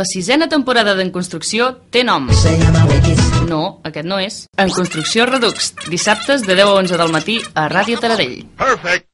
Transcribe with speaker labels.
Speaker 1: La sisena temporada d'En Construcció té nom.
Speaker 2: Se llama Wikis.
Speaker 1: No, aquest no és. En Construcció Redux, dissabtes de 10 a 11 del matí a Ràdio Taradell.
Speaker 3: Perfect.